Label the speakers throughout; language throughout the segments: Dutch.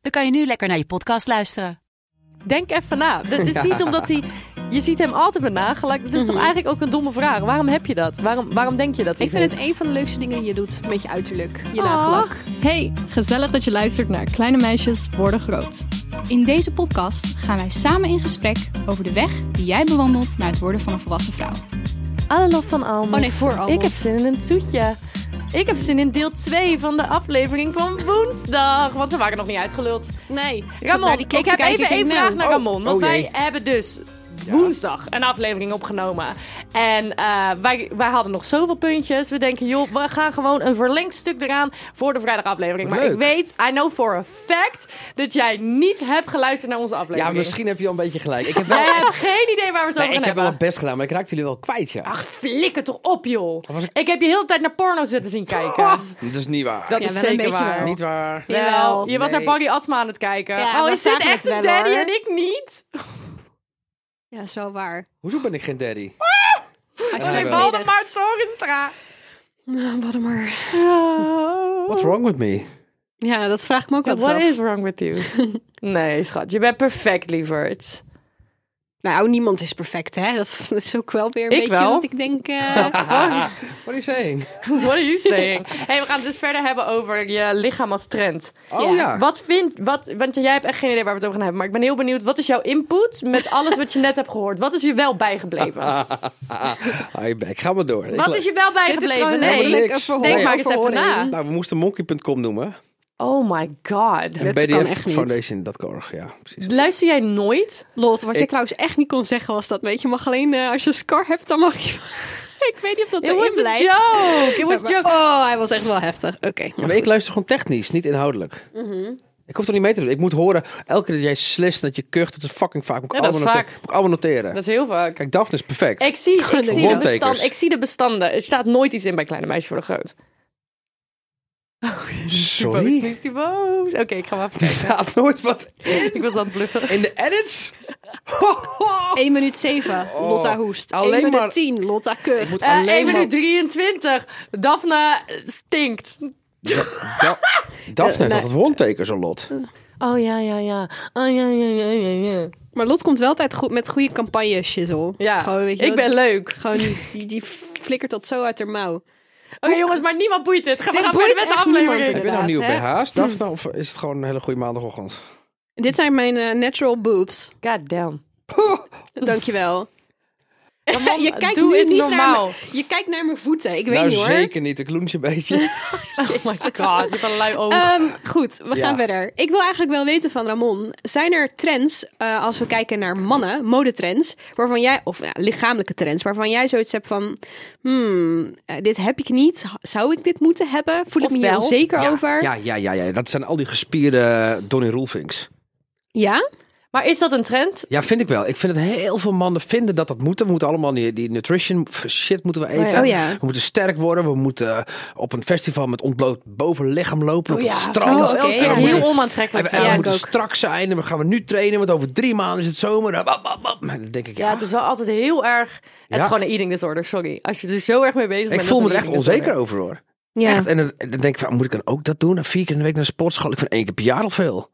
Speaker 1: dan kan je nu lekker naar je podcast luisteren.
Speaker 2: Denk even na. Dat is niet omdat hij. Je ziet hem altijd met nagelak. Dat is
Speaker 3: Mhm.
Speaker 2: toch eigenlijk ook een domme vraag. Waarom heb je dat? Waarom, waarom denk je dat?
Speaker 4: Ik vind het een van de leukste dingen die je doet met je uiterlijk, je nagelak.
Speaker 3: Hey, gezellig dat je luistert naar Kleine Meisjes Worden Groot. In deze podcast gaan wij samen in gesprek over de weg die jij bewandelt naar het worden van een volwassen vrouw.
Speaker 2: alle lof van Almond.
Speaker 3: Oh nee, voor Almond.
Speaker 2: Ik heb zin in een toetje. Ik heb zin in deel 2 van de aflevering van woensdag. Want we waren nog niet uitgeluld.
Speaker 4: Nee, ik zat naar
Speaker 2: Ramon,
Speaker 4: die
Speaker 2: ik,
Speaker 4: klok te
Speaker 2: heb
Speaker 4: kijken,
Speaker 2: even
Speaker 4: ik denk,
Speaker 2: één
Speaker 4: nou,
Speaker 2: vraag naar
Speaker 5: oh,
Speaker 2: Ramon. Want
Speaker 5: oh jee.
Speaker 2: wij hebben dus woensdag een aflevering opgenomen. En eh, wij, wij hadden nog zoveel puntjes. We denken, joh, we gaan gewoon een verlengd stuk eraan voor de vrijdagaflevering. Maar
Speaker 5: Leuk.
Speaker 2: ik weet, I know for a fact, dat jij niet hebt geluisterd naar onze aflevering.
Speaker 5: Ja, misschien heb je al een beetje gelijk. Ik heb wel,
Speaker 2: Jij hebt geen idee waar we het over
Speaker 5: Nee, ik
Speaker 2: gaan
Speaker 5: heb
Speaker 2: hebben.
Speaker 5: wel mijn best gedaan, maar ik raakte jullie wel kwijt, ja.
Speaker 2: Ach, flikker toch op, joh.
Speaker 5: was ik-
Speaker 2: Ik heb je heel de tijd naar porno zitten zien kijken.
Speaker 5: Dat is niet waar.
Speaker 2: Dat
Speaker 4: Ja,
Speaker 2: is
Speaker 4: wel een
Speaker 2: zeker
Speaker 4: beetje
Speaker 2: waar.
Speaker 4: wel.
Speaker 5: Niet waar.
Speaker 2: Jawel. Je was
Speaker 5: Nee.
Speaker 2: naar Barry Atsma aan het kijken.
Speaker 4: Ja,
Speaker 2: oh,
Speaker 4: we
Speaker 2: is dit
Speaker 4: zagen
Speaker 2: echt
Speaker 4: het
Speaker 2: een
Speaker 4: wel,
Speaker 2: daddy
Speaker 4: hoor.
Speaker 2: en ik niet?
Speaker 3: Ja, zo waar.
Speaker 5: Hoezo ben ik geen daddy?
Speaker 4: Als
Speaker 5: Ja,
Speaker 4: je
Speaker 5: wel.
Speaker 4: mij
Speaker 2: Waldemar
Speaker 4: beledigt.
Speaker 2: Torenstra.
Speaker 4: Nou, wat maar.
Speaker 5: What's wrong with me?
Speaker 4: Ja, dat vraag ik me ook wel eens
Speaker 2: What
Speaker 4: af.
Speaker 2: is wrong with you? nee, schat. Je bent perfect, lieverd.
Speaker 4: Nou, niemand is perfect, hè. Dat, dat is ook wel weer een
Speaker 2: Ik
Speaker 4: beetje
Speaker 2: wel.
Speaker 4: dat ik denk... eh,
Speaker 5: What are you saying?
Speaker 2: What are you saying? hey, we gaan het dus verder hebben over je lichaam als trend.
Speaker 5: Oh
Speaker 4: Ja.
Speaker 5: ja.
Speaker 2: Wat vindt... Wat, want jij hebt echt geen idee waar we het over gaan hebben. Maar ik ben heel benieuwd. Wat is jouw input met alles wat je net hebt gehoord? Wat is je wel bijgebleven?
Speaker 5: Ah, ik ben- ik ga maar door. Ik
Speaker 2: Wat
Speaker 5: le-
Speaker 2: is je wel
Speaker 4: dit is gewoon
Speaker 2: bijgebleven?
Speaker 5: Nee.
Speaker 4: letterlijk een
Speaker 5: Niks.
Speaker 4: verhoor-
Speaker 5: Denk maar
Speaker 2: eens even
Speaker 4: verhoring.
Speaker 2: na.
Speaker 5: Nou, we moesten monkey.com noemen.
Speaker 2: Oh my god.
Speaker 5: En
Speaker 4: Dat kan
Speaker 5: BDF
Speaker 4: echt niet.
Speaker 5: Foundation.org, ja, precies.
Speaker 2: Luister jij nooit?
Speaker 4: Lot, wat je
Speaker 5: Ik-
Speaker 4: trouwens echt niet kon zeggen was dat, weet je, mag alleen eh, als je een scar hebt, dan mag je... ik weet niet of dat
Speaker 2: It was
Speaker 4: erin
Speaker 2: a
Speaker 4: blijft.
Speaker 2: joke. It was a
Speaker 4: Maar-
Speaker 2: joke.
Speaker 4: Oh, hij was echt wel heftig. Oké.
Speaker 5: Ja, maar ik luister gewoon technisch, niet inhoudelijk.
Speaker 2: Mhm.
Speaker 5: Ik hoef er niet mee te doen. Ik moet horen, elke keer dat jij slist, dat je kucht, dat is fucking vaak. Moet ik,
Speaker 2: Ja, dat is
Speaker 5: allemaal, note-
Speaker 2: vaak.
Speaker 5: moet ik allemaal noteren.
Speaker 2: Dat is heel vaak.
Speaker 5: Kijk, Daphne is perfect.
Speaker 2: Ik zie, ik, zie de
Speaker 5: Wondtekens.
Speaker 2: bestand, ik zie de bestanden. Er staat nooit iets in bij Kleine Meisje voor de Groot.
Speaker 5: Sorry?
Speaker 2: Is die boos? Oké, ik ga maar even
Speaker 5: Er
Speaker 2: kijken.
Speaker 5: staat nooit wat
Speaker 2: Ik was aan het bluffen.
Speaker 5: in de edits.
Speaker 4: 1 minuut 7,
Speaker 5: Oh.
Speaker 4: Lotta hoest. 1
Speaker 5: Alleen
Speaker 4: minuut
Speaker 5: maar-
Speaker 4: 10, Lotta keur.
Speaker 5: moet
Speaker 2: Eh 1
Speaker 5: alleen maar-
Speaker 2: minuut 23. Daphne eh, stinkt.
Speaker 5: Da- Da- Daphne heeft altijd wondtekens, een lot.
Speaker 2: Oh ja, ja, ja. Oh ja, ja, ja, ja. Ja,
Speaker 4: Maar Lot komt wel altijd goed met goede campagne shizzle.
Speaker 2: ja.
Speaker 4: Gewoon, weet je
Speaker 2: ik
Speaker 4: wel,
Speaker 2: ben leuk.
Speaker 4: Gewoon die, die, die flikkert dat zo uit haar mouw.
Speaker 2: Oké jongens, maar niemand boeit dit. Ga, we
Speaker 4: Dit
Speaker 2: gaan
Speaker 4: boeit
Speaker 2: verder met de
Speaker 4: echt niemand,
Speaker 2: aflevering.
Speaker 5: Heb je nou nieuwe
Speaker 4: Inderdaad,
Speaker 5: BH's, Daphne? Of is het gewoon een hele goede maandagochtend?
Speaker 4: En Dit zijn mijn eh, natural boobs.
Speaker 2: God damn.
Speaker 4: Dankjewel.
Speaker 2: Ramon,
Speaker 4: je kijkt
Speaker 2: doe
Speaker 4: nu
Speaker 2: eens
Speaker 4: niet
Speaker 2: normaal.
Speaker 4: Naar, mijn- je kijkt naar mijn voeten. Ik weet
Speaker 5: nou,
Speaker 4: niet hoor.
Speaker 5: zeker niet. Ik loens je een beetje.
Speaker 2: Oh my god, je hebt een lui oog.
Speaker 4: Ehm, goed, we
Speaker 5: Ja.
Speaker 4: gaan verder. Ik wil eigenlijk wel weten van Ramon. Zijn er trends, eh, als we kijken naar mannen, modetrends, waarvan jij, of ja, lichamelijke trends, waarvan jij zoiets hebt van: hmm, eh, dit heb ik niet. Zou ik dit moeten hebben? Voel ik
Speaker 2: Of
Speaker 4: me hier
Speaker 2: wel?
Speaker 4: onzeker over?
Speaker 5: Ja, ja, ja, ja. Dat zijn al die gespierde Donnie Roelvings.
Speaker 4: Ja?
Speaker 2: maar is dat een trend?
Speaker 5: Ja, vind ik wel. Ik vind dat heel veel mannen vinden dat dat moet. We moeten allemaal die, die nutrition shit moeten we eten.
Speaker 4: Oh ja.
Speaker 5: We moeten sterk worden. We moeten eh, op een festival met ontbloot bovenlichaam lopen. op het strand.
Speaker 4: Oh,
Speaker 2: Dat is
Speaker 4: oké,
Speaker 2: ook
Speaker 4: ja.
Speaker 2: weer
Speaker 5: En we
Speaker 2: heel
Speaker 5: moeten- En
Speaker 2: onaantrekkelijk.
Speaker 5: we, en we
Speaker 4: Ja, ik
Speaker 2: trouwens.
Speaker 5: moeten
Speaker 4: ook.
Speaker 5: strak zijn. En we gaan we nu trainen. Want over drie maanden is het zomer. En bam, bam, bam. Dan denk ik, ja,
Speaker 2: Ja, het is wel altijd heel erg. Het is
Speaker 5: Ja.
Speaker 2: gewoon een eating disorder, sorry. Als je er zo erg mee bezig bent.
Speaker 5: ik voel
Speaker 2: dat
Speaker 5: me
Speaker 2: is
Speaker 5: er
Speaker 2: een
Speaker 5: echt
Speaker 2: eating disorder.
Speaker 5: onzeker over hoor.
Speaker 4: Ja.
Speaker 5: Echt, en dan en dan denk ik van, moet ik dan ook dat doen? En vier keer in de week naar de sportschool? Ik vind één keer per jaar al veel.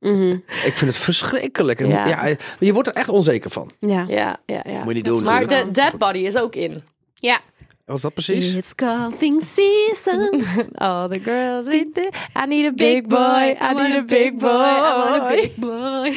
Speaker 4: Mhm.
Speaker 5: Ik vind het verschrikkelijk. En
Speaker 2: Ja.
Speaker 5: ja, eh, je wordt er echt onzeker van.
Speaker 4: Ja.
Speaker 2: Ja, ja, ja.
Speaker 5: Moet je
Speaker 4: Dat
Speaker 5: niet doen.
Speaker 4: is
Speaker 2: Maar
Speaker 5: natuurlijk.
Speaker 2: de dead body is ook in.
Speaker 4: Ja.
Speaker 5: Wat is dat precies?
Speaker 4: It's coming season.
Speaker 2: All the girls with the... I need a
Speaker 4: Big boy, I need a big boy, I want a big boy.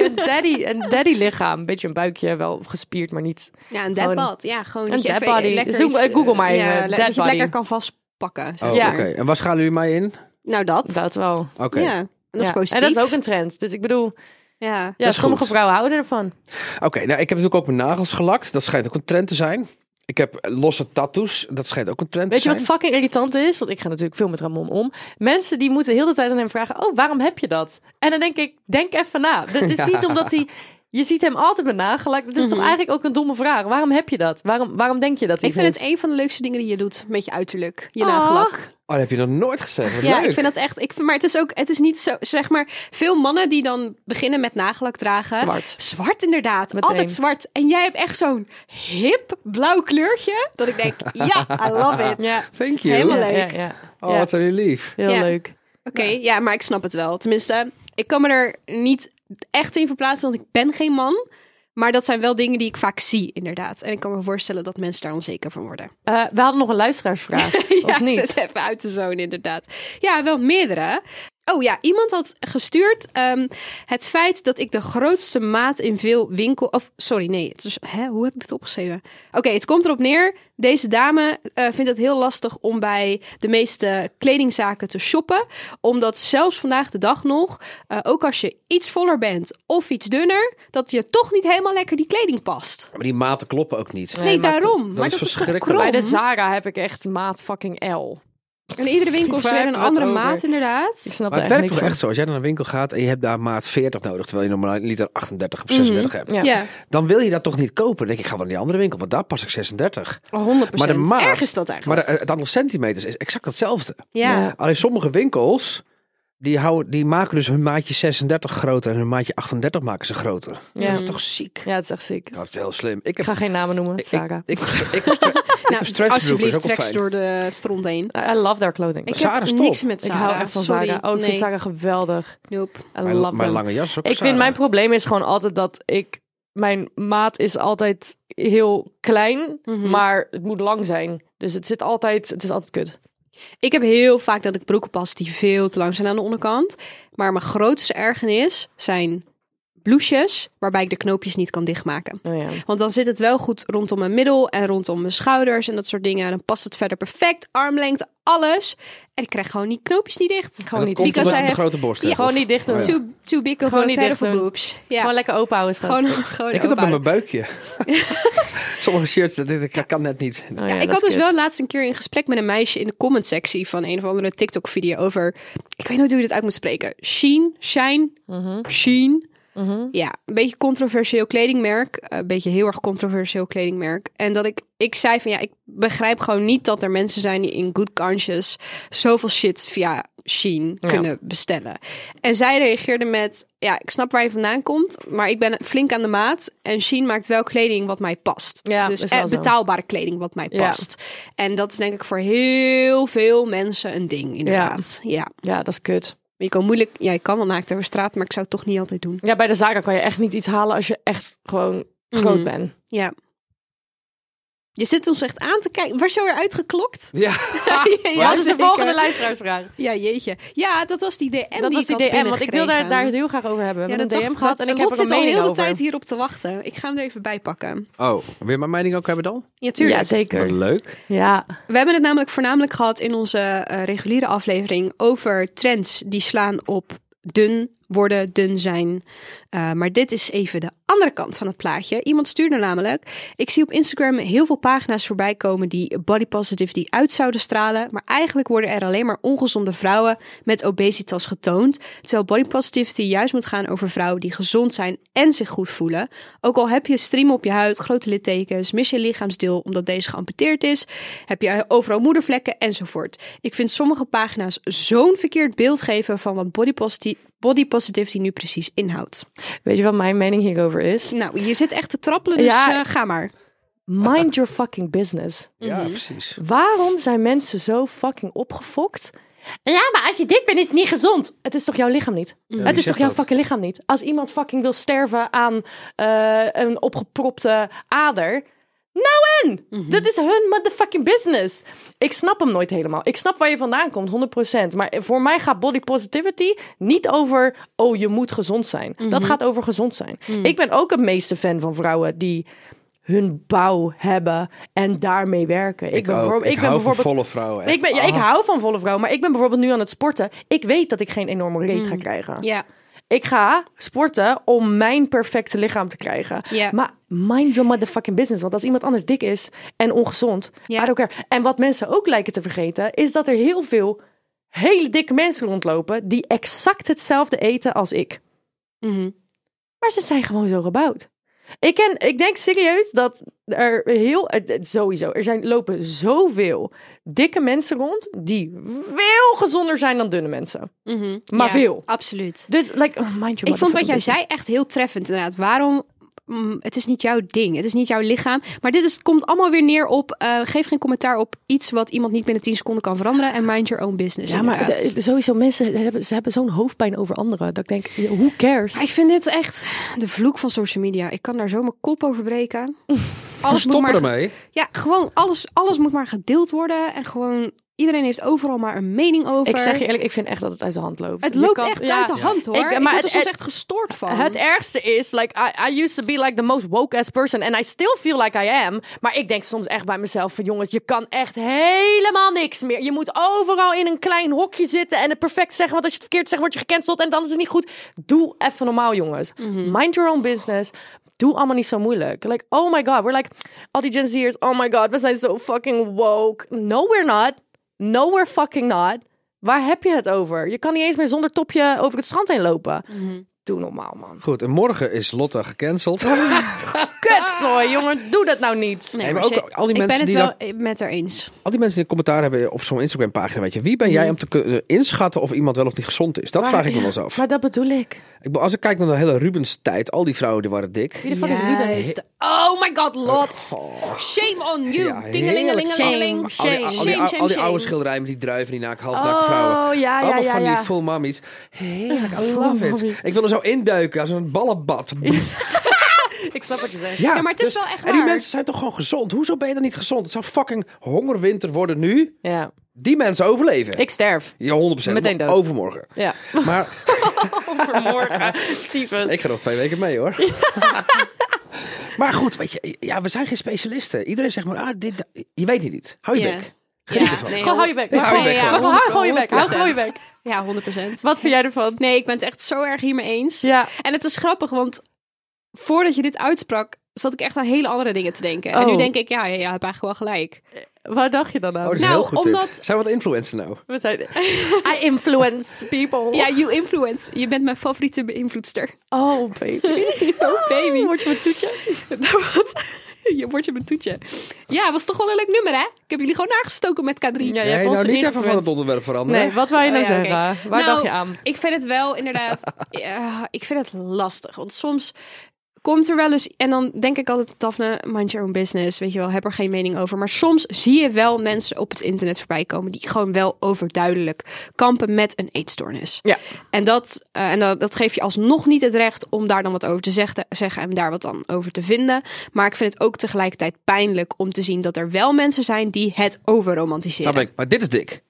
Speaker 2: Een daddy, een daddy lichaam. Beetje een buikje, wel gespierd, maar niet...
Speaker 4: Ja, een
Speaker 2: Gewoon-
Speaker 4: dead body. Ja, gewoon
Speaker 2: Een
Speaker 4: dat je
Speaker 2: dead
Speaker 4: even
Speaker 2: body.
Speaker 4: lekker
Speaker 2: Zoek-
Speaker 4: iets,
Speaker 2: eh, Google
Speaker 4: eh,
Speaker 2: maar, eh,
Speaker 4: Ja,
Speaker 2: dead
Speaker 4: le- dat je het
Speaker 2: body.
Speaker 4: lekker kan vastpakken. zeg
Speaker 5: Oh,
Speaker 2: Ja.
Speaker 4: maar.
Speaker 5: oké. En waar schalen jullie mij in?
Speaker 4: Nou, dat.
Speaker 2: Dat wel.
Speaker 5: Oké.
Speaker 4: Ja. En dat
Speaker 2: Ja.
Speaker 4: is positief.
Speaker 2: En dat is ook een trend. Dus ik bedoel,
Speaker 4: Ja.
Speaker 2: ja,
Speaker 5: Dat is
Speaker 2: sommige
Speaker 5: goed.
Speaker 2: vrouwen houden ervan.
Speaker 5: Oké, nou ik heb natuurlijk ook mijn nagels gelakt. Dat schijnt ook een trend te zijn. Ik Ik heb losse tattoos. Dat schijnt ook een trend
Speaker 2: Weet
Speaker 5: te
Speaker 2: je
Speaker 5: zijn.
Speaker 2: wat fucking irritant is? Want ik ga natuurlijk veel met Ramon om. Mensen die moeten heel de tijd aan hem vragen: Oh, waarom heb je dat? En dan denk ik: Denk even na. Het is niet omdat hij. Je ziet hem altijd met nagelak. Het is toch eigenlijk ook een domme vraag. Waarom heb je dat? Waarom, waarom denk je dat? hij
Speaker 4: Mhm. Ik vind het
Speaker 2: doet?
Speaker 4: een van de leukste dingen die je doet met je uiterlijk, je
Speaker 2: Ah.
Speaker 4: nagelak.
Speaker 5: Oh, dat heb je nog nooit gezegd. Wat
Speaker 4: Ja,
Speaker 5: leuk.
Speaker 4: ik vind dat echt. Ik, vind- maar het is ook, het is niet zo, zeg maar, veel mannen die dan beginnen met nagelak dragen.
Speaker 2: Zwart.
Speaker 4: Zwart inderdaad,
Speaker 2: Meteen.
Speaker 4: altijd zwart. En jij hebt echt zo'n hip blauw kleurtje dat ik denk, ja, I love it.
Speaker 2: Ja.
Speaker 5: Thank you.
Speaker 4: Helemaal
Speaker 2: Ja,
Speaker 4: leuk.
Speaker 2: ja, ja.
Speaker 5: Oh,
Speaker 2: Ja,
Speaker 5: wat zijn jullie lief.
Speaker 2: heel
Speaker 4: Ja.
Speaker 2: leuk.
Speaker 4: Oké, ja, maar ik snap het wel. Tenminste, ik kan me er niet echt in verplaatsen, want ik ben geen man. Maar dat zijn wel dingen die ik vaak zie, inderdaad. En ik kan me voorstellen dat mensen daar onzeker van worden.
Speaker 2: Eh, we hadden nog een luisteraarsvraag. of
Speaker 4: ja,
Speaker 2: niet?
Speaker 4: zet even uit de zone inderdaad. Ja, wel meerdere. Oh ja, iemand had gestuurd ehm, het feit dat ik de grootste maat in veel winkel... Of, sorry, nee. Het is, hè, hoe heb ik dit opgeschreven? Oké, het komt erop neer. Deze dame eh, vindt het heel lastig om bij de meeste kledingzaken te shoppen. Omdat zelfs vandaag de dag nog, eh, ook als je iets voller bent of iets dunner... dat je toch niet helemaal lekker die kleding past.
Speaker 5: Maar die maten kloppen ook niet.
Speaker 4: Nee, daarom. maar dat is
Speaker 5: is
Speaker 4: toch
Speaker 5: verschrikkelijk.
Speaker 4: krom?
Speaker 2: Bij de Zara heb ik echt maat fucking L.
Speaker 4: In iedere winkel is
Speaker 2: Waar
Speaker 4: weer een
Speaker 2: hebben we het
Speaker 4: andere
Speaker 2: over?
Speaker 4: maat inderdaad.
Speaker 2: Ik snap
Speaker 5: Maar
Speaker 2: daar
Speaker 5: het
Speaker 2: echt
Speaker 5: werkt
Speaker 2: niks
Speaker 5: toch
Speaker 2: van.
Speaker 5: echt zo? Als jij naar een winkel gaat en je hebt daar maat 40 nodig, terwijl je normaal een liter 38 of 36 hebt.
Speaker 2: Ja.
Speaker 4: Ja,
Speaker 5: Dan wil je dat toch niet kopen? Dan denk ik, ik ga wel naar die andere winkel, want daar pas ik 36.
Speaker 4: 100%.
Speaker 5: Maar de maat,
Speaker 4: Erg is dat eigenlijk.
Speaker 5: Maar de- het aantal centimeters is exact hetzelfde.
Speaker 4: ja.
Speaker 2: Ja.
Speaker 5: Alleen sommige winkels, die, houden, die maken dus hun maatje 36 groter en hun maatje 38 maken ze groter.
Speaker 2: Ja.
Speaker 5: Dat is toch ziek?
Speaker 2: Ja, het is echt ziek.
Speaker 5: Ja, Dat is heel slim. Ik
Speaker 2: Ik
Speaker 5: heb...
Speaker 2: ga geen namen noemen,
Speaker 5: ik-
Speaker 2: Zara.
Speaker 5: Ik, ik, ik, ik-
Speaker 4: Nou,
Speaker 5: stretchbroek is
Speaker 4: alsjeblieft,
Speaker 5: ook wel
Speaker 4: trek ze
Speaker 5: fijn.
Speaker 4: door de stront heen.
Speaker 2: I love their clothing.
Speaker 4: Ik
Speaker 5: Zara
Speaker 4: heb
Speaker 5: is top.
Speaker 4: niks met
Speaker 2: Ik
Speaker 4: Zara.
Speaker 2: hou echt van
Speaker 4: Sorry.
Speaker 2: Zara. Oh, ik
Speaker 4: nee.
Speaker 2: vind Zara geweldig.
Speaker 4: Nope.
Speaker 2: I
Speaker 5: mijn,
Speaker 2: love
Speaker 5: mijn
Speaker 2: them.
Speaker 5: lange jas is ook
Speaker 2: Ik
Speaker 5: Zara.
Speaker 2: vind mijn probleem is gewoon altijd dat ik mijn maat is altijd heel klein,
Speaker 4: Mhm.
Speaker 2: maar het moet lang zijn. Dus het zit altijd, het is altijd kut.
Speaker 4: Ik heb heel vaak dat ik broeken pas die veel te lang zijn aan de onderkant. Maar mijn grootste ergernis zijn blouses waarbij ik de knoopjes niet kan dichtmaken.
Speaker 2: Oh ja.
Speaker 4: Want dan zit het wel goed rondom mijn middel en rondom mijn schouders en dat soort dingen. Dan past het verder perfect, armlengte, alles. En ik krijg gewoon die knoopjes niet dicht.
Speaker 2: Gewoon niet
Speaker 5: Komt
Speaker 2: dicht.
Speaker 4: Because
Speaker 5: omdat
Speaker 4: I
Speaker 5: ik een
Speaker 4: have-
Speaker 5: grote borst
Speaker 4: Ja,
Speaker 5: heb,
Speaker 2: Gewoon
Speaker 5: of-
Speaker 2: niet dicht doen.
Speaker 5: Oh, ja.
Speaker 4: Too, too big of
Speaker 2: Gewoon
Speaker 4: a
Speaker 2: niet
Speaker 4: pair
Speaker 2: dicht
Speaker 4: of a
Speaker 2: doen.
Speaker 4: boobs. Ja.
Speaker 2: Gewoon lekker open houden. schat.
Speaker 4: Gewoon, gewoon
Speaker 5: Ik heb dat met
Speaker 4: openhouden.
Speaker 5: mijn buikje. Sommige shirts, dat, dat kan net niet.
Speaker 2: Oh
Speaker 4: Ja, ik
Speaker 2: dat
Speaker 4: had
Speaker 2: is
Speaker 4: dus
Speaker 2: kut.
Speaker 4: wel laatst een keer een gesprek met een meisje in de comment sectie van een of andere TikTok video over. Ik weet nooit hoe je dit uit moet spreken. Sheen, Shine,
Speaker 2: Mhm.
Speaker 4: Sheen. Ja, een beetje controversieel kledingmerk. eh, Een beetje heel erg controversieel kledingmerk. En dat ik, ik zei van ja, ik begrijp gewoon niet dat er mensen zijn die in good conscience zoveel shit via Sheen
Speaker 2: Ja.
Speaker 4: kunnen bestellen. En zij reageerde met ja, ik snap waar je vandaan komt, maar ik ben flink aan de maat en Sheen maakt wel kleding wat mij past.
Speaker 2: Ja,
Speaker 4: dus
Speaker 2: is wel
Speaker 4: eh,
Speaker 2: zo.
Speaker 4: betaalbare kleding wat mij
Speaker 2: Ja.
Speaker 4: past. En dat is denk ik voor heel veel mensen een ding, inderdaad. Ja.
Speaker 2: Ja, dat is kut.
Speaker 4: Je kan moeilijk, ja, je kan wel naakt over straat, maar ik zou het toch niet altijd doen.
Speaker 2: Ja, bij de Zara kan je echt niet iets halen als je echt gewoon groot bent.
Speaker 4: Mhm. Ja. Je zit ons echt aan te kijken. Waar zo weer uitgeklokt?
Speaker 5: Ja.
Speaker 2: Ja, dat is de
Speaker 4: zeker.
Speaker 2: volgende luisteraarsvraag.
Speaker 4: Ja, jeetje. Ja, dat was die DM
Speaker 2: Dat
Speaker 4: die
Speaker 2: was die
Speaker 4: ik had
Speaker 2: DM, want ik wilde daar,
Speaker 4: binnengekregen.
Speaker 2: daar het heel graag over hebben. We
Speaker 4: ja,
Speaker 2: hebben
Speaker 4: dat
Speaker 2: een DM
Speaker 4: dacht-
Speaker 2: gehad en
Speaker 4: dat-
Speaker 2: ik heb
Speaker 4: Lot
Speaker 2: er een
Speaker 4: zit al
Speaker 2: mening
Speaker 4: heel de
Speaker 2: over.
Speaker 4: tijd hierop te wachten. Ik ga hem er even bij pakken.
Speaker 5: Oh, wil je mijn mening ook hebben dan?
Speaker 4: Ja, tuurlijk.
Speaker 2: Ja,
Speaker 5: Wat
Speaker 2: zeker.
Speaker 5: leuk.
Speaker 2: Ja.
Speaker 4: We hebben het namelijk voornamelijk gehad in onze eh, reguliere aflevering over trends die slaan op dun worden, dun zijn. Eh, maar dit is even de andere kant van het plaatje. Iemand stuurde namelijk: Ik zie op Instagram heel veel pagina's voorbij komen die body positivity uit zouden stralen. Maar eigenlijk worden er alleen maar ongezonde vrouwen met obesitas getoond. Terwijl body positivity juist moet gaan over vrouwen die gezond zijn en zich goed voelen. Ook al heb je striemen op je huid, grote littekens, mis je lichaamsdeel omdat deze geamputeerd is, heb je overal moedervlekken enzovoort. Ik vind sommige pagina's zo'n verkeerd beeld geven van wat body, posit- body positivity nu precies inhoudt.
Speaker 2: Weet je wat mijn mening hierover is?
Speaker 4: Nou, je zit echt te trappelen, dus
Speaker 2: Ja.
Speaker 4: eh, ga maar.
Speaker 2: Mind your fucking business.
Speaker 5: Ja, precies.
Speaker 2: Waarom zijn mensen zo fucking opgefokt? Ja, maar als je dik bent, is het niet gezond. Het is toch jouw lichaam niet? het is
Speaker 5: zegt
Speaker 2: toch jouw
Speaker 5: dat?
Speaker 2: fucking lichaam niet? Als iemand fucking wil sterven aan eh, een opgepropte ader. Nou en! Dat is hun motherfucking business. Ik snap hem nooit helemaal. Ik snap waar je vandaan komt, 100%. Maar voor mij gaat body positivity niet over... oh, je moet gezond zijn. Dat gaat over gezond zijn. Ik ben ook het meeste fan van vrouwen die hun bouw hebben en daarmee werken. Ik, ben,
Speaker 5: ook.
Speaker 2: bijvoorbeeld-
Speaker 5: Ik
Speaker 2: ik ben
Speaker 5: hou van
Speaker 2: bijvoorbeeld
Speaker 5: volle vrouwen, echt. Ah.
Speaker 2: Ik, ben, ja, ik hou van volle vrouwen, maar ik ben bijvoorbeeld nu aan het sporten. Ik weet dat ik geen enorme reet ga krijgen.
Speaker 4: Ja.
Speaker 2: Ik ga sporten om mijn perfecte lichaam te krijgen.
Speaker 4: Ja.
Speaker 2: Maar mind your motherfucking business. Want als iemand anders dik is en ongezond,
Speaker 4: Ja.
Speaker 2: I don't care. En wat mensen ook lijken te vergeten, is dat er heel veel hele dikke mensen rondlopen die exact hetzelfde eten als ik.
Speaker 4: Mhm.
Speaker 2: Maar ze zijn gewoon zo gebouwd. Ik, ken, ik denk serieus dat er heel... eh, eh, Sowieso, er zijn, lopen zoveel dikke mensen rond... die veel gezonder zijn dan dunne mensen.
Speaker 4: Mhm.
Speaker 2: Maar
Speaker 4: Ja,
Speaker 2: veel.
Speaker 4: Absoluut.
Speaker 2: Dus, like, oh, mind you,
Speaker 4: Ik vond wat jij
Speaker 2: business.
Speaker 4: zei echt heel treffend inderdaad. Waarom? mm, het is niet jouw ding. Het is niet jouw lichaam. Maar dit is, komt allemaal weer neer op. eh, geef geen commentaar op iets wat iemand niet binnen 10 seconden kan veranderen. En mind your own business.
Speaker 2: Ja, maar
Speaker 4: inderdaad.
Speaker 2: het- het- sowieso, mensen hebben, ze hebben zo'n hoofdpijn over anderen. Dat ik denk, who cares?
Speaker 4: ik vind dit echt de vloek van social media. Ik kan daar zo mijn kop over breken. Alles moet
Speaker 5: Stop
Speaker 4: maar,
Speaker 5: ermee.
Speaker 4: ja, gewoon alles, alles moet maar gedeeld worden. En gewoon iedereen heeft overal maar een mening over.
Speaker 2: Ik zeg je eerlijk, ik vind echt dat het uit de hand loopt.
Speaker 4: het
Speaker 2: Je
Speaker 4: loopt
Speaker 2: kan-
Speaker 4: echt
Speaker 2: ja.
Speaker 4: uit de hand hoor.
Speaker 2: Ik-
Speaker 4: Ik,
Speaker 2: maar
Speaker 4: maar
Speaker 2: het-
Speaker 4: word er soms
Speaker 2: het-
Speaker 4: echt gestoord van.
Speaker 2: Het ergste is, like, I, I used to be like the most woke ass person. And I still feel like I am. Maar ik denk soms echt bij mezelf van, jongens, je kan echt helemaal niks meer. Je moet overal in een klein hokje zitten en het perfect zeggen. Want als je het verkeerd zegt, word je gecanceld en dan is het niet goed. Doe even normaal, jongens. Mind your own business. Doe allemaal niet zo moeilijk. Like, oh my god, we're like, al die Gen Z'ers, oh my god, we zijn zo fucking woke. No, we're not. No, we're fucking not. Waar heb je het over? Je kan niet eens meer zonder topje over het strand heen lopen. Doe normaal, man.
Speaker 5: Goed, en morgen is Lotte gecanceld.
Speaker 2: Kutzooi, jongen. Doe dat nou niet.
Speaker 4: Nee,
Speaker 5: Nee,
Speaker 4: maar
Speaker 5: maar ook
Speaker 4: ze-
Speaker 5: al die
Speaker 4: ik ben
Speaker 5: mensen
Speaker 4: het
Speaker 5: die
Speaker 4: wel met haar eens.
Speaker 5: Al die mensen die commentaar hebben op zo'n Instagram pagina, weet je, wie ben jij om te kunnen inschatten of iemand wel of niet gezond is? Dat vraag ik me wel eens af.
Speaker 2: Maar dat bedoel ik.
Speaker 5: Ik bedoel, als ik kijk naar de hele Rubens tijd, al die vrouwen die waren dik.
Speaker 2: Wie de fuck is Ruben?
Speaker 4: Juist. Oh my god, Lot. Shame on you.
Speaker 5: Ja,
Speaker 4: Tingelingelingelingeling.
Speaker 5: heerlijk. Al die, al die,
Speaker 4: Shame,
Speaker 5: al die
Speaker 4: shame, shame.
Speaker 5: oude schilderijen met die druiven, die naak, halfnaakte
Speaker 2: Oh,
Speaker 5: vrouwen.
Speaker 2: ja, ja,
Speaker 5: Allemaal
Speaker 2: ja,
Speaker 5: van
Speaker 2: ja.
Speaker 5: die full mummies. Heerlijk, I
Speaker 2: Full
Speaker 5: love
Speaker 2: mummies.
Speaker 5: it. Ik wil er zo induiken als een ballenbad. Ja,
Speaker 2: Ik snap wat je zegt.
Speaker 4: Ja, maar het is wel echt
Speaker 5: En die
Speaker 4: waar.
Speaker 5: mensen zijn toch gewoon gezond? Hoezo ben je dan niet gezond? Het zou fucking hongerwinter worden nu.
Speaker 2: Ja.
Speaker 5: Die mensen overleven.
Speaker 2: Ik sterf.
Speaker 5: Ja, 100%.
Speaker 2: Meteen dood.
Speaker 5: Overmorgen.
Speaker 2: Ja.
Speaker 5: Maar
Speaker 2: Overmorgen. Steven.
Speaker 5: ik ga nog twee weken mee hoor. maar goed, weet je, ja, we zijn geen specialisten. Iedereen zegt maar, ah, dit, dat- je weet het niet. Hou je
Speaker 4: Ja.
Speaker 5: bek. Oh,
Speaker 4: Ja,
Speaker 5: ervan.
Speaker 4: nee,
Speaker 2: Gewoon hou je bek.
Speaker 5: Ja, hou je
Speaker 4: Nee,
Speaker 5: bek
Speaker 4: ja,
Speaker 5: gewoon.
Speaker 2: Hou gewoon je bek. Hou gewoon je
Speaker 4: 100%.
Speaker 2: bek.
Speaker 4: Ja, 100%.
Speaker 2: Wat vind jij ervan?
Speaker 4: Nee, ik ben het echt zo erg hiermee eens.
Speaker 2: Ja.
Speaker 4: En het is grappig, want voordat je dit uitsprak, zat ik echt aan hele andere dingen te denken. En nu
Speaker 2: Oh.
Speaker 4: denk ik, ja, ja, ja, heb eigenlijk wel gelijk.
Speaker 2: Waar dacht je dan
Speaker 5: Oh, dat
Speaker 2: aan?
Speaker 5: is
Speaker 4: Nou,
Speaker 5: heel goed dit.
Speaker 4: omdat-
Speaker 5: Zijn we wat influencer nou?
Speaker 2: We zijn... I influence people.
Speaker 4: Ja, you influence. Je bent mijn favoriete beïnvloedster.
Speaker 2: Oh, baby.
Speaker 4: Oh, baby. Nou,
Speaker 2: Word je mijn toetje?
Speaker 4: Wat? Je wordt je mijn toetje. Ja, was toch wel een leuk nummer, hè? Ik heb jullie gewoon nagestoken met K3.
Speaker 2: Ja, jij hebt
Speaker 5: nou
Speaker 2: ons
Speaker 5: niet even van het
Speaker 2: influenced.
Speaker 5: onderwerp veranderen.
Speaker 2: Nee, wat wou je nou
Speaker 4: Oh ja,
Speaker 2: zeggen?
Speaker 4: oké.
Speaker 2: Waar
Speaker 4: Nou,
Speaker 2: dacht je aan?
Speaker 4: Ik vind het wel inderdaad. ja, ik vind het lastig. Want soms komt er wel eens. En dan denk ik altijd: Daphne, mind your own business. Weet je wel, heb er geen mening over. Maar soms zie je wel mensen op het internet voorbij komen. die gewoon wel overduidelijk kampen met een eetstoornis.
Speaker 2: Ja.
Speaker 4: En, dat, eh, en dat, dat geeft je alsnog niet het recht om daar dan wat over te zegde- zeggen en daar wat dan over te vinden. Maar ik vind het ook tegelijkertijd pijnlijk om te zien dat er wel mensen zijn die het overromantiseren.
Speaker 5: Nou ben ik, maar dit is dik.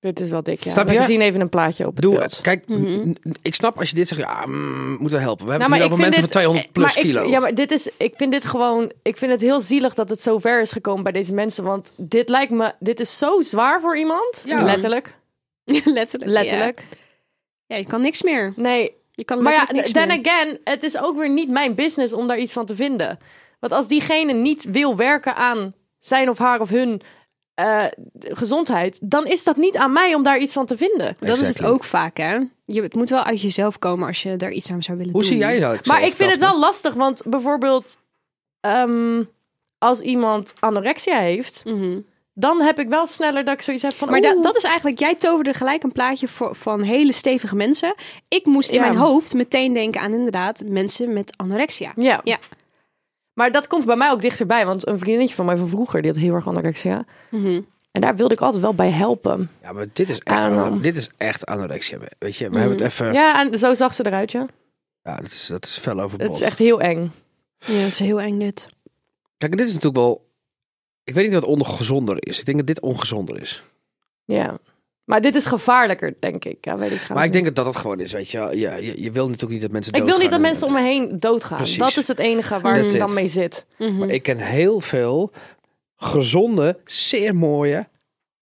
Speaker 2: Dit is wel dik, ja.
Speaker 5: Snap je?
Speaker 2: We zien even een plaatje op het
Speaker 5: Doe,
Speaker 2: beeld.
Speaker 5: Kijk, n- n- ik snap als je dit zegt, ja, mm, moeten we helpen. We hebben
Speaker 2: Mhm. Nou,
Speaker 5: het hier over mensen van 200 plus
Speaker 2: maar ik-
Speaker 5: kilo.
Speaker 2: ja, maar dit is, ik vind dit gewoon, ik vind het heel zielig dat het zo ver is gekomen bij deze mensen. Want dit lijkt me, dit is zo zwaar voor iemand.
Speaker 5: Ja.
Speaker 2: Letterlijk.
Speaker 4: letterlijk.
Speaker 2: Letterlijk.
Speaker 4: Ja, je kan niks meer.
Speaker 2: Nee.
Speaker 4: Je kan
Speaker 2: Maar ja,
Speaker 4: letterlijk niks
Speaker 2: then
Speaker 4: meer.
Speaker 2: again, het is ook weer niet mijn business om daar iets van te vinden. Want als diegene niet wil werken aan zijn of haar of hun eh, gezondheid, dan is dat niet aan mij om daar iets van te vinden.
Speaker 4: Dat is het
Speaker 5: Exactly.
Speaker 4: ook vaak, hè? Je, het moet wel uit jezelf komen als je daar iets aan zou willen
Speaker 5: Hoe
Speaker 4: doen.
Speaker 5: zie jij dat?
Speaker 2: Maar ik vind het wel lastig, want bijvoorbeeld ehm, als iemand anorexia heeft,
Speaker 4: Mhm.
Speaker 2: dan heb ik wel sneller dat ik zoiets heb van.
Speaker 4: Maar da-
Speaker 2: oeh.
Speaker 4: dat is eigenlijk, jij toverde gelijk een plaatje voor, van hele stevige mensen. Ik moest in
Speaker 2: Ja.
Speaker 4: mijn hoofd meteen denken aan inderdaad mensen met anorexia.
Speaker 2: Ja.
Speaker 4: Ja.
Speaker 2: Maar dat komt bij mij ook dichterbij, want een vriendinnetje van mij van vroeger die had heel erg anorexia.
Speaker 4: Mhm.
Speaker 2: En daar wilde ik altijd wel bij helpen.
Speaker 5: Ja, maar dit is echt,
Speaker 2: Aan-
Speaker 5: anore- dit is echt anorexia. Weet je, we hebben het even... Ja,
Speaker 2: Mhm. Ja, en zo zag ze eruit, ja.
Speaker 5: dat, is, dat is fel
Speaker 2: Het is
Speaker 5: overboord.
Speaker 2: echt heel eng.
Speaker 4: Ja, dat is heel eng dit.
Speaker 5: Kijk, dit is natuurlijk wel... Ik weet niet wat ongezonder is. Ik denk dat dit ongezonder is.
Speaker 2: Ja. Maar dit is gevaarlijker, denk ik. Ja, weet ik
Speaker 5: maar ik
Speaker 2: trouwens
Speaker 5: denk dat dat het gewoon is, weet je. Ja, je, je wil natuurlijk niet dat mensen
Speaker 2: niet. ik wil niet dat
Speaker 5: doodgaan en-
Speaker 2: mensen om me heen doodgaan.
Speaker 5: Precies.
Speaker 2: Dat is het enige waar
Speaker 5: That's
Speaker 2: ik
Speaker 5: it.
Speaker 2: dan mee zit.
Speaker 4: Mhm.
Speaker 5: Maar ik ken heel veel gezonde, zeer mooie,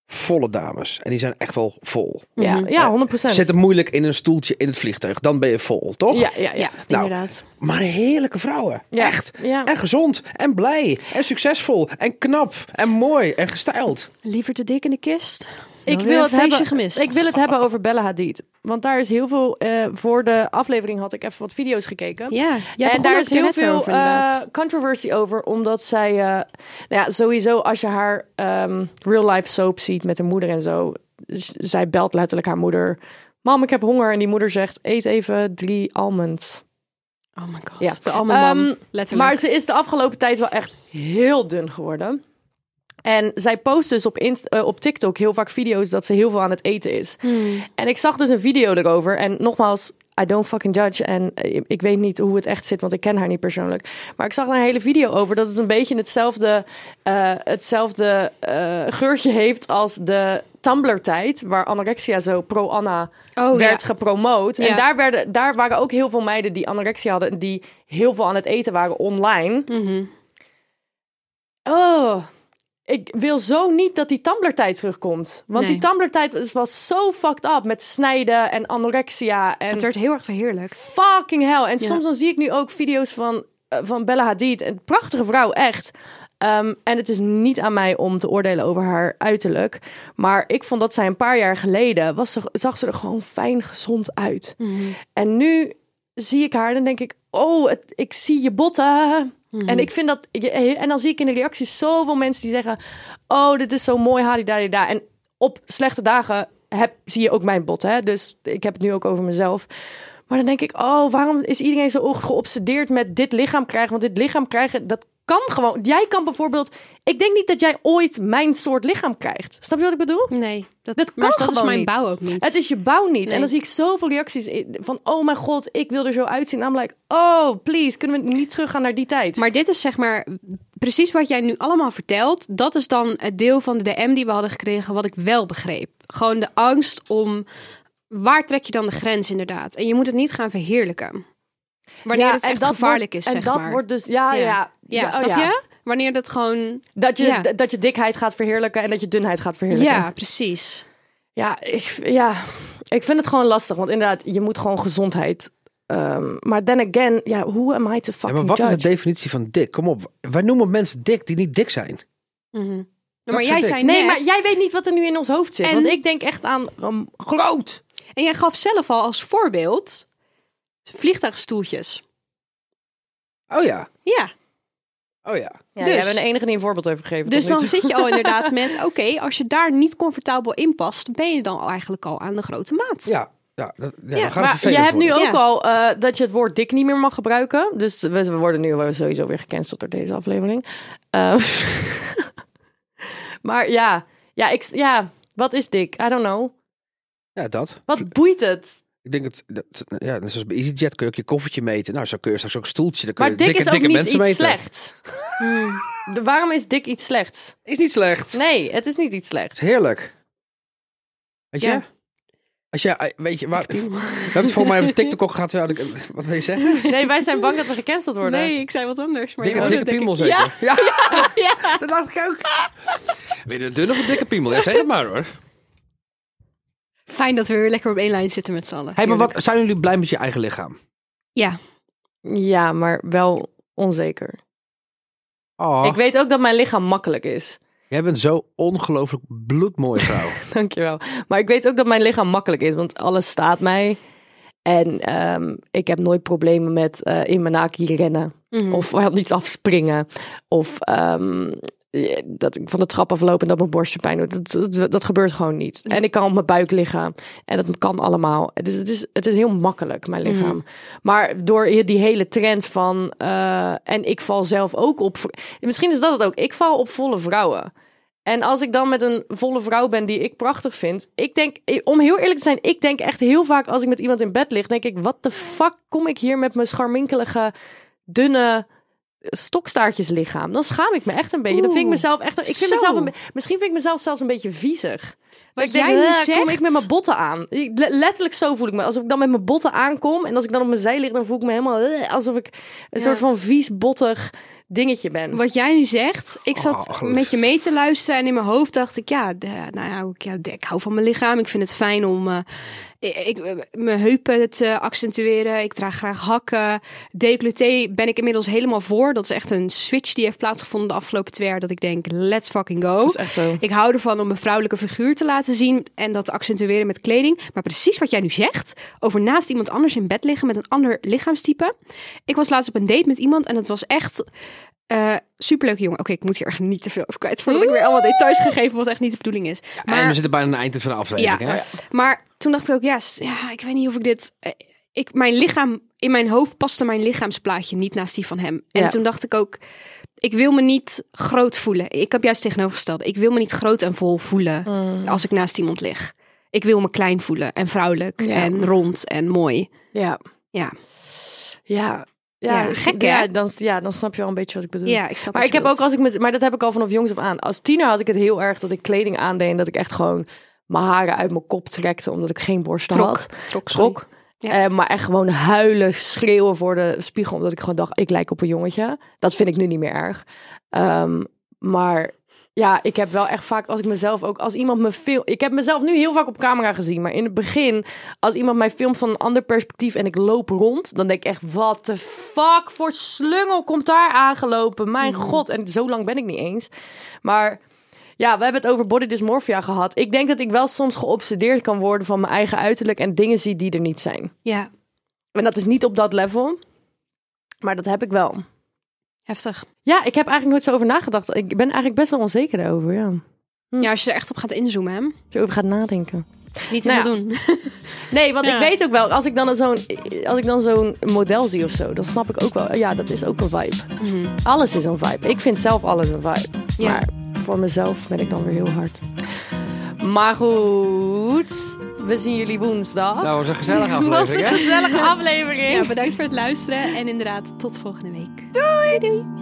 Speaker 5: volle dames. En die zijn echt wel vol.
Speaker 2: Ja,
Speaker 4: Mhm.
Speaker 2: ja 100
Speaker 5: Zet hem moeilijk in een stoeltje in het vliegtuig. Dan ben je vol, toch?
Speaker 2: Ja, ja,
Speaker 4: Ja,
Speaker 2: ja.
Speaker 5: Nou,
Speaker 4: inderdaad.
Speaker 5: Maar heerlijke vrouwen.
Speaker 2: Ja.
Speaker 5: Echt.
Speaker 2: Ja.
Speaker 5: En gezond. En blij. En succesvol. En knap. En mooi. En gestyled.
Speaker 4: Liever te dik in de kist.
Speaker 2: Ik wil, het
Speaker 4: feestje
Speaker 2: hebben,
Speaker 4: gemist.
Speaker 2: ik wil het hebben over Bella Hadid. Want daar is heel veel... eh, voor de aflevering had ik even wat video's gekeken.
Speaker 4: Ja, jij
Speaker 2: en daar is heel veel
Speaker 4: over,
Speaker 2: eh,
Speaker 4: inderdaad.
Speaker 2: controversie over, omdat zij, eh, nou ja, sowieso als je haar ehm, real life soap ziet met haar moeder en zo, z- zij belt letterlijk haar moeder, mam ik heb honger en die moeder zegt eet even drie almonds.
Speaker 4: Oh my god.
Speaker 2: eh, Ja.
Speaker 4: De almamam,
Speaker 2: Ehm,
Speaker 4: letterlijk.
Speaker 2: Maar ze is de afgelopen tijd wel echt heel dun geworden. En zij post dus op, Inst- eh, op TikTok heel vaak video's dat ze heel veel aan het eten is. En ik zag dus een video erover. En nogmaals, I don't fucking judge. En eh, ik weet niet hoe het echt zit, want ik ken haar niet persoonlijk. Maar ik zag daar een hele video over dat het een beetje hetzelfde, eh, hetzelfde eh, geurtje heeft als de Tumblr-tijd. Waar anorexia zo pro-Anna
Speaker 4: Oh,
Speaker 2: werd
Speaker 4: ja.
Speaker 2: gepromoot.
Speaker 4: Ja.
Speaker 2: En daar, werden, daar waren ook heel veel meiden die anorexia hadden... en die heel veel aan het eten waren online.
Speaker 4: Mhm.
Speaker 2: Oh, ik wil zo niet dat die Tumblr-tijd terugkomt. Want
Speaker 4: Nee.
Speaker 2: die Tumblr-tijd was- was zo fucked up met snijden en anorexia. En
Speaker 4: Het werd heel erg verheerlijkt.
Speaker 2: fucking hell. En
Speaker 4: Ja.
Speaker 2: soms dan zie ik nu ook video's van, eh, van Bella Hadid. Een prachtige vrouw, echt. Ehm, en het is niet aan mij om te oordelen over haar uiterlijk. Maar ik vond dat zij een paar jaar geleden... Was ze, zag ze er gewoon fijn gezond uit. En nu zie ik haar en dan denk ik... Oh, het- ik zie je botten. En ik vind dat... En dan zie ik in de reacties zoveel mensen die zeggen... Oh, dit is zo mooi, hadidadida. En op slechte dagen heb, zie je ook mijn bot. Hè? Dus ik heb het nu ook over mezelf. Maar dan denk ik, oh, waarom is iedereen zo geobsedeerd met dit lichaam krijgen? Want dit lichaam krijgen, dat kan gewoon. Jij kan bijvoorbeeld... Ik denk niet dat jij ooit mijn soort lichaam krijgt. Snap je wat ik bedoel?
Speaker 4: Nee, dat,
Speaker 2: Dat
Speaker 4: maar
Speaker 2: kan
Speaker 4: dat is
Speaker 2: gewoon
Speaker 4: mijn
Speaker 2: niet.
Speaker 4: bouw ook niet.
Speaker 2: Het is je bouw niet.
Speaker 4: Nee.
Speaker 2: En dan zie ik zoveel reacties in- van... oh mijn god, ik wil er zo uitzien. En I'm like, oh, please, kunnen we niet teruggaan naar die tijd?
Speaker 4: Maar dit is zeg maar precies wat jij nu allemaal vertelt. Dat is dan het deel van de DM die we hadden gekregen, wat ik wel begreep. Gewoon de angst om waar trek je dan de grens inderdaad? En je moet het niet gaan verheerlijken. Wanneer
Speaker 2: Ja,
Speaker 4: het
Speaker 2: en
Speaker 4: echt
Speaker 2: dat
Speaker 4: gevaarlijk
Speaker 2: wordt-
Speaker 4: is, zeg
Speaker 2: En dat
Speaker 4: maar.
Speaker 2: wordt dus... Ja, ja.
Speaker 4: ja,
Speaker 2: oh
Speaker 4: snap je? Wanneer dat gewoon...
Speaker 2: Dat je,
Speaker 4: Ja.
Speaker 2: d- dat je dikheid gaat verheerlijken en dat je dunheid gaat verheerlijken.
Speaker 4: Ja, precies.
Speaker 2: Ja, ik, v- ja, ik vind het gewoon lastig. Want inderdaad, je moet gewoon gezondheid. ehm, maar then again, ja, who am I to
Speaker 5: Ja,
Speaker 2: fucking
Speaker 5: maar wat is
Speaker 2: judge?
Speaker 5: de definitie van dik? Kom op. Wij noemen mensen dik die niet dik zijn.
Speaker 4: maar jij
Speaker 5: ik.
Speaker 4: zei
Speaker 2: Nee,
Speaker 4: net-
Speaker 2: maar jij weet niet wat er nu in ons hoofd zit.
Speaker 4: En-
Speaker 2: Want ik denk echt aan ehm, groot.
Speaker 4: En jij gaf zelf al als voorbeeld vliegtuigstoeltjes. Dus
Speaker 5: Oh ja.
Speaker 4: Ja,
Speaker 5: Oh ja.
Speaker 2: Ja,
Speaker 4: Dus-
Speaker 2: jij bent de enige die een voorbeeld over gegeven.
Speaker 4: dus
Speaker 2: tot nu
Speaker 4: dan
Speaker 2: toe.
Speaker 4: zit je al inderdaad met... Oké, als je daar niet comfortabel in past... ben je dan eigenlijk al aan de grote maat.
Speaker 5: Ja. Ja, dat, ja,
Speaker 4: Ja,
Speaker 5: dan gaan we
Speaker 2: Maar je
Speaker 5: vervelend
Speaker 2: hebt nu
Speaker 5: worden.
Speaker 2: ook
Speaker 4: Ja.
Speaker 2: al eh, dat je het woord dik niet meer mag gebruiken. Dus we, we worden nu wel sowieso weer gecanceld door deze aflevering. Ehm, maar ja, ja, ik, ja, wat is dik? I don't know.
Speaker 5: Ja, dat.
Speaker 2: Wat boeit het?
Speaker 5: Ik denk dat, dat ja, net zoals bij EasyJet kun je ook je koffertje meten. Nou, zo kun je straks ook een stoeltje. Dan kun
Speaker 2: Maar
Speaker 5: je
Speaker 2: dik
Speaker 5: dikke,
Speaker 2: is ook
Speaker 5: dikke
Speaker 2: niet iets
Speaker 5: mensen meten.
Speaker 2: slechts. Hmm. De- Waarom is dik iets slechts?
Speaker 5: Is niet slecht.
Speaker 2: Nee, het is niet iets slechts.
Speaker 5: Het is heerlijk. Weet je?
Speaker 4: Ja.
Speaker 5: Als je, eh, weet je, waar, we hebben het volgens mij op TikTok ook gehad. terwijl ik- Wat wil je zeggen?
Speaker 2: Nee, wij zijn bang dat we gecanceld worden.
Speaker 4: Nee, ik zei wat anders. Maar
Speaker 5: Dikke,
Speaker 4: ja,
Speaker 5: dikke
Speaker 4: dat denk
Speaker 5: piemel
Speaker 4: ik-
Speaker 5: zeker?
Speaker 4: Ja,
Speaker 5: ja. dat dacht ik ook. Weer een dunne of een dikke piemel? Ja, zeg het maar hoor.
Speaker 4: fijn dat we weer lekker op één lijn zitten met z'n allen.
Speaker 5: Hey, maar
Speaker 4: Heerlijk.
Speaker 5: wat, zijn jullie blij met je eigen lichaam?
Speaker 4: Ja,
Speaker 2: Ja, maar wel onzeker.
Speaker 5: Oh,
Speaker 2: Ik weet ook dat mijn lichaam makkelijk is.
Speaker 5: jij bent zo ongelooflijk bloedmooie vrouw.
Speaker 2: Dankjewel. Maar ik weet ook dat mijn lichaam makkelijk is, want alles staat mij. En ehm, ik heb nooit problemen met eh, in mijn naki rennen. Of van iets afspringen. Of ehm, eh, dat ik van de trap afloop en dat mijn borstje pijn doet. Dat, dat, dat gebeurt gewoon niet. En ik kan op mijn buik liggen. En dat kan allemaal. Dus het is, het is heel makkelijk, mijn
Speaker 4: Mhm.
Speaker 2: lichaam. Maar door hier die hele trend van... eh, en ik val zelf ook op... Misschien is dat het ook. Ik val op volle vrouwen. En als ik dan met een volle vrouw ben die ik prachtig vind, ik denk, eh, om heel eerlijk te zijn, ik denk echt heel vaak als ik met iemand in bed lig, denk ik, wat de fuck kom ik hier met mijn scharminkelige, dunne stokstaartjes lichaam? Dan schaam ik me echt een beetje. Dan vind ik
Speaker 4: Oeh,
Speaker 2: mezelf echt, ik vind
Speaker 4: zo.
Speaker 2: mezelf een, be- misschien vind ik mezelf zelfs een beetje viezig. Dat
Speaker 4: Wat jij nu
Speaker 2: "Eh,
Speaker 4: zegt-
Speaker 2: kom ik met mijn botten aan. Ik- le- letterlijk zo voel ik me. Alsof ik dan met mijn botten aankom. En als ik dan op mijn zij lig, dan voel ik me helemaal... eh, alsof ik een
Speaker 4: Ja.
Speaker 2: soort van vies, bottig dingetje ben.
Speaker 4: Wat jij nu zegt, ik zat
Speaker 5: Oh,
Speaker 4: met je mee te luisteren en in mijn hoofd dacht ik, ja, de- nou ja, ik, ja, de- ik hou van mijn lichaam. Ik vind het fijn om eh, ik, eh, mijn heupen te accentueren. Ik draag graag hakken. Decolleté ben ik inmiddels helemaal voor. Dat is echt een switch die heeft plaatsgevonden de afgelopen twee jaar. Dat ik denk, let's fucking go.
Speaker 2: Dat is echt zo.
Speaker 4: Ik hou ervan om mijn vrouwelijke figuur te laten zien en dat te accentueren met kleding. Maar precies wat jij nu zegt, over naast iemand anders in bed liggen met een ander lichaamstype. Ik was laatst op een date met iemand en het was echt eh superleuke jongen. Oké, ik moet hier echt niet te veel over kwijt voordat ik weer allemaal details gegeven wat echt niet de bedoeling is.
Speaker 5: En we
Speaker 4: Maar,
Speaker 5: zitten bijna aan het eind van de aflevering.
Speaker 4: Ja.
Speaker 5: Hè?
Speaker 4: maar toen dacht ik ook, ja, s- ja, ik weet niet of ik dit... eh, ik, mijn lichaam, in mijn hoofd paste mijn lichaamsplaatje niet naast die van hem. En
Speaker 2: Ja.
Speaker 4: toen dacht ik ook, ik wil me niet groot voelen. Ik heb juist tegenovergesteld. Ik wil me niet groot en vol voelen als ik naast iemand lig. Ik wil me klein voelen en vrouwelijk
Speaker 2: Ja.
Speaker 4: en rond en mooi.
Speaker 2: Ja.
Speaker 4: Ja,
Speaker 2: Ja.
Speaker 4: Ja,
Speaker 2: Ja,
Speaker 4: gek,
Speaker 2: ja,
Speaker 4: hè?
Speaker 2: dan, ja, dan snap je wel een beetje wat ik bedoel.
Speaker 4: ja ik snap
Speaker 2: Maar
Speaker 4: wat
Speaker 2: ik
Speaker 4: je
Speaker 2: heb ook
Speaker 4: bedoelt.
Speaker 2: als ik met, maar dat heb ik al vanaf jongs af aan. Als tiener had ik het heel erg dat ik kleding aandeed en dat ik echt gewoon mijn haren uit mijn kop trekte omdat ik geen borsten
Speaker 4: Trok.
Speaker 2: had.
Speaker 4: Trok, sorry.
Speaker 2: Schrok.
Speaker 4: Ja.
Speaker 2: Eh, maar echt gewoon huilen, schreeuwen voor de spiegel omdat ik gewoon dacht ik lijk op een jongetje. Dat vind ik nu niet meer erg. Ehm, maar ja, ik heb wel echt vaak als ik mezelf ook als iemand me film, ik heb mezelf nu heel vaak op camera gezien, maar in het begin als iemand mij filmt van een ander perspectief en ik loop rond, dan denk ik echt, wat de fuck voor slungel komt daar aangelopen? Mijn god, en zo lang ben ik niet eens. Maar ja, we hebben het over body dysmorphia gehad. Ik denk dat ik wel soms geobsedeerd kan worden van mijn eigen uiterlijk en dingen zie die er niet zijn.
Speaker 4: Ja,
Speaker 2: En dat is niet op dat level, maar dat heb ik wel.
Speaker 4: heftig.
Speaker 2: Ja, ik heb eigenlijk nooit zo over nagedacht. Ik ben eigenlijk best wel onzeker daarover, ja.
Speaker 4: Ja, als je er echt op gaat inzoomen, hè?
Speaker 2: Als je over gaat nadenken.
Speaker 4: Niet te
Speaker 2: Nou
Speaker 4: veel
Speaker 2: ja.
Speaker 4: doen.
Speaker 2: Nee, want
Speaker 4: Ja.
Speaker 2: ik weet ook wel, als ik dan zo'n als ik dan zo'n model zie of zo, dan snap ik ook wel, ja, dat is ook een vibe. Alles is een vibe. Ik vind zelf alles een vibe.
Speaker 4: Mhm. Ja.
Speaker 2: Maar voor mezelf ben ik dan weer heel hard. Maar goed, we zien jullie woensdag.
Speaker 5: Nou, was een gezellige aflevering. hè?
Speaker 2: gezellige aflevering.
Speaker 4: Ja, bedankt voor het luisteren en inderdaad, tot volgende week. Doei! doei.